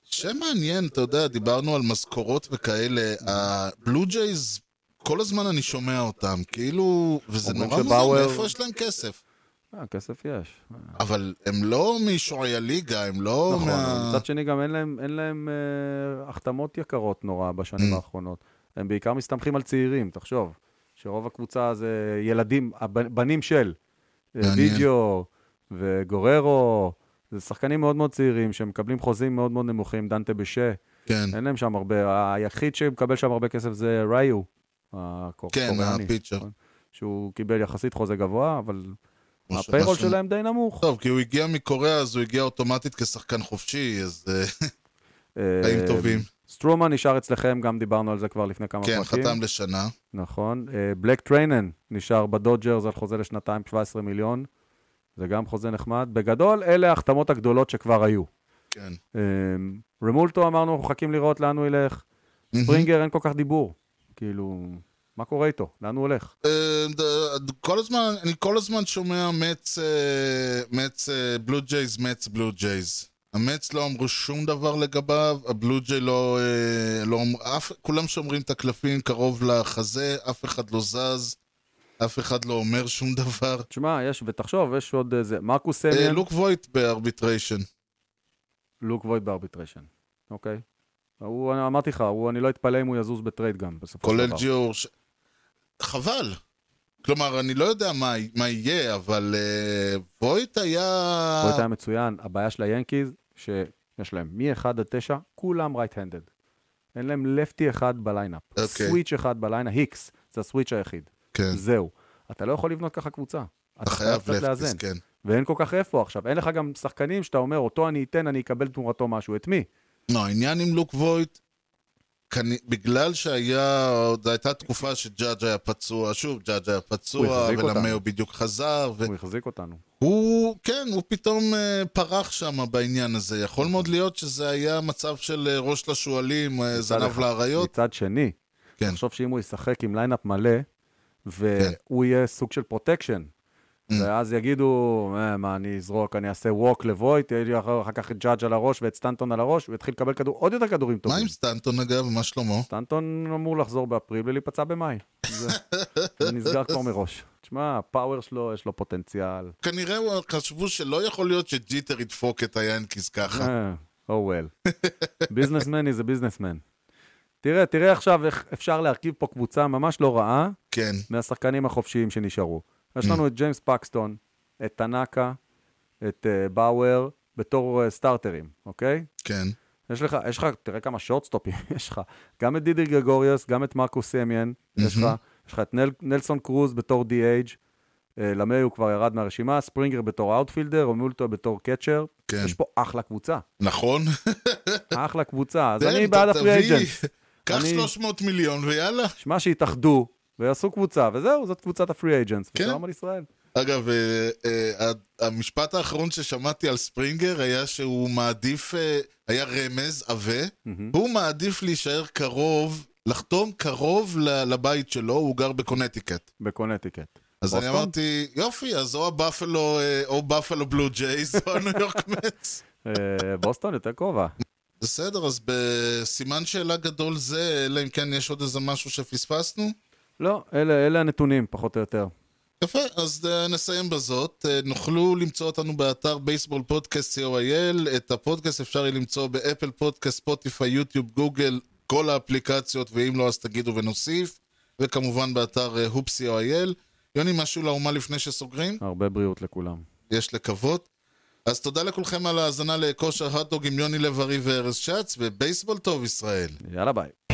שם מעניין, אתה יודע, דיברנו על משכורות וכאלה. הבלו ג'ייז, כל הזמן אני שומע אותם, כאילו, וזה
אומרים
נורא
שבאואר-
מוזר, מאיפה יש להם כסף?
אה, כסף יש. אה,
אבל הם לא משועי הליגה, הם לא
נכון, אבל
מה...
מצד שני גם אין להם, אין להם אה, החתמות יקרות נורא בשנים האחרונות. הם בעיקר מסתמכים על צעירים, תחשוב, שרוב הקבוצה זה ילדים, הבנ- בנים של. אה,
מעניין.
ביג'ו וגוררו, זה שחקנים מאוד מאוד צעירים שמקבלים חוזים מאוד מאוד נמוכים, דנטה בשה.
כן,
אין להם שם הרבה, היחיד שמקבל שם הרבה כסף זה ראיו, הקור-
כן,
הקוריאני,
הפיצ'ר.
נכון? שהוא קיבל יחסית חוזה גבוה, אבל
הוא
הפיירול
שבש לנו.
שלהם די נמוך.
טוב, כי הוא הגיע מקוריאה, אז הוא הגיע אוטומטית כשחקן חופשי, אז אה,
אה,
חיים טובים.
סטרומה נשאר אצלכם, גם דיברנו על זה כבר לפני כמה
כן,
פרקים.
חתם לשנה.
נכון. אה, בלק טריינן נשאר בדודג'רס על חוזה לשנתיים 17 מיליון. זה גם חוזה נחמד. בגדול, אלה ההחתמות הגדולות שכבר היו.
כן.
אה, רמולטו אמרנו, אנחנו מחכים לראות לאן הוא ילך. ספרינגר אין כל כך דיבור. כאילו, מה קורה איתו? לאן הוא הולך?
אה, ד- כל הזמן, אני כל הזמן שומע מצ, אה, מצ, אה, בלו ג'ייז, מצ, בלו ג'ייז. המץ לא אמרו שום דבר לגביו, הבלו ג'יי לא, אה, לא אמר, אף, כולם שומרים את הקלפים קרוב לחזה, אף אחד לא זז, אף אחד לא אומר שום דבר.
תשמע, יש, ותחשוב, יש עוד איזה, מרקוס
אה,
סמיאן,
לוק וויט בארביטריישן.
לוק וויד בארביטריישן, אוקיי? הוא, אני- אמרתי לך, הוא, אני לא אתפלא אם הוא יזוז בטרייד גם, בסופו של
כולל
דבר.
ג'יאור... ש- חבל. כלומר, אני לא יודע מה, מה יהיה, אבל אה, וויט היה...
הוא היה מצוין, הבעיה של היאנקיז, שיש להם מ-1 עד 9, כולם רייט-הנדד. אין להם לפטי אחד בליינאפ.
אוקיי.
סוויץ' אחד בליינאפ, היקס, זה הסוויץ' היחיד.
כן.
זהו. אתה לא יכול לבנות ככה קבוצה. אתה
חייב
קצת
לפטיס,
לאזן.
כן.
ואין כל כך איפה עכשיו. אין לך גם שחקנים שאתה אומר, אותו אני אתן, אני אקבל תמורתו משהו. את מי?
לא, העניין עם לוק וויט, כנ- בגלל שהיה, זו הייתה תקופה שג'אג' היה פצוע, שוב, ג'אג' היה
הוא
פצוע,
החזיק אותנו.
ולמאו בדיוק חזר, ו...
הוא החזיק אותנו.
הוא, כן, הוא פתאום אה, פרח שם בעניין הזה. יכול מאוד להיות שזה היה מצב של אה, ראש לשועלים, אה, זנב
אחד.
לאריות.
מצד שני,
כן.
תחשוב שאם הוא ישחק עם ליינאפ מלא, והוא יהיה סוג של פרוטקשן.
Mm.
ואז יגידו, "אה, מה, אני אזרוק, אני אעשה ווק לבויט, יהיה לי אחר אחר כך את ג'אג' על הראש ואת סטנטון על הראש, הוא יתחיל לקבל כדור, עוד יותר כדורים
מה
טובים.
עם סטנטון אגב? מה שלמה?
סטנטון אמור לחזור באפריל ולהיפצע במאי. זה זה נסגר כבר מראש. תשמע, הפאוור שלו, יש לו פוטנציאל.
כנראה הוא- חשבו שלא יכול להיות שג'יטר ידפוק את היאנקיז
אה.
ככה.
או וול. ביזנסמן is a ביזנסמן. תראה, תראה עכשיו איך אפשר להרכיב פה קבוצה ממש לא רעה
כן.
מהשחקנים החופשיים שנשארו.
Mm.
יש לנו את ג'יימס פקסטון, את טנאקה, את אה, באואר, בתור אה, סטארטרים, אוקיי?
כן,
יש לך, יש לך, תראה כמה שורטסטופים יש לך. גם את דידי גרגוריוס, גם את מרקוס סמיאן, יש לך,
Mm-hmm.
יש לך את נל, נלסון קרוז בתור DH, אה, למי הוא כבר ירד מהרשימה, ספרינגר בתור אאוטפילדר, ומולטו בתור קצ'ר.
כן.
יש פה אחלה קבוצה,
נכון.
אחלה קבוצה. אז
כן,
אני
אתה
בעד הפרי
תביא-
אג'נטס.
קח
אני-
300 מיליון ויאללה.
שמע, שיתאחדו ויעשו קבוצה, וזהו, זאת קבוצת הפרי אג'נטס.
כן.
ושלום על ישראל.
אגב, אה, אה, ה- המשפט האחרון ששמעתי על ספרינגר היה שהוא מעדיף, אה, היה רמז עבה, הוא מעדיף להישאר קרוב, לחתום קרוב ל- לבית שלו, הוא גר בקונטיקט.
בקונטיקט.
אז אני
בוסטון?
אמרתי, יופי, אז או הבאפלו, אה, או באפלו בלו ג'ייז, או הניו יורק מצ.
אה, בוסטון יותר קרובה.
בסדר, אז בסימן שאלה גדול זה, אלא אם כן יש עוד איזה משהו שפספסנו.
לא, אלה, אלה הנתונים, פחות או יותר.
יפה, אז אה, נסיים בזאת. אה, נוכלו למצוא אותנו באתר בייסבול פודקאסט co.il. את הפודקאסט אפשר יהיה למצוא באפל פודקאסט, ספוטיפיי, יוטיוב, גוגל, כל האפליקציות, ואם לא אז תגידו ונוסיף. וכמובן באתר אה, הופ co.il. יוני, משהו לאומה לפני שסוגרים?
הרבה בריאות לכולם.
יש לקוות. אז תודה לכולכם על ההאזנה לכושר הטוג עם יוני לב-ארי וארז שץ, ובייסבול טוב ישראל.
יאללה, ביי.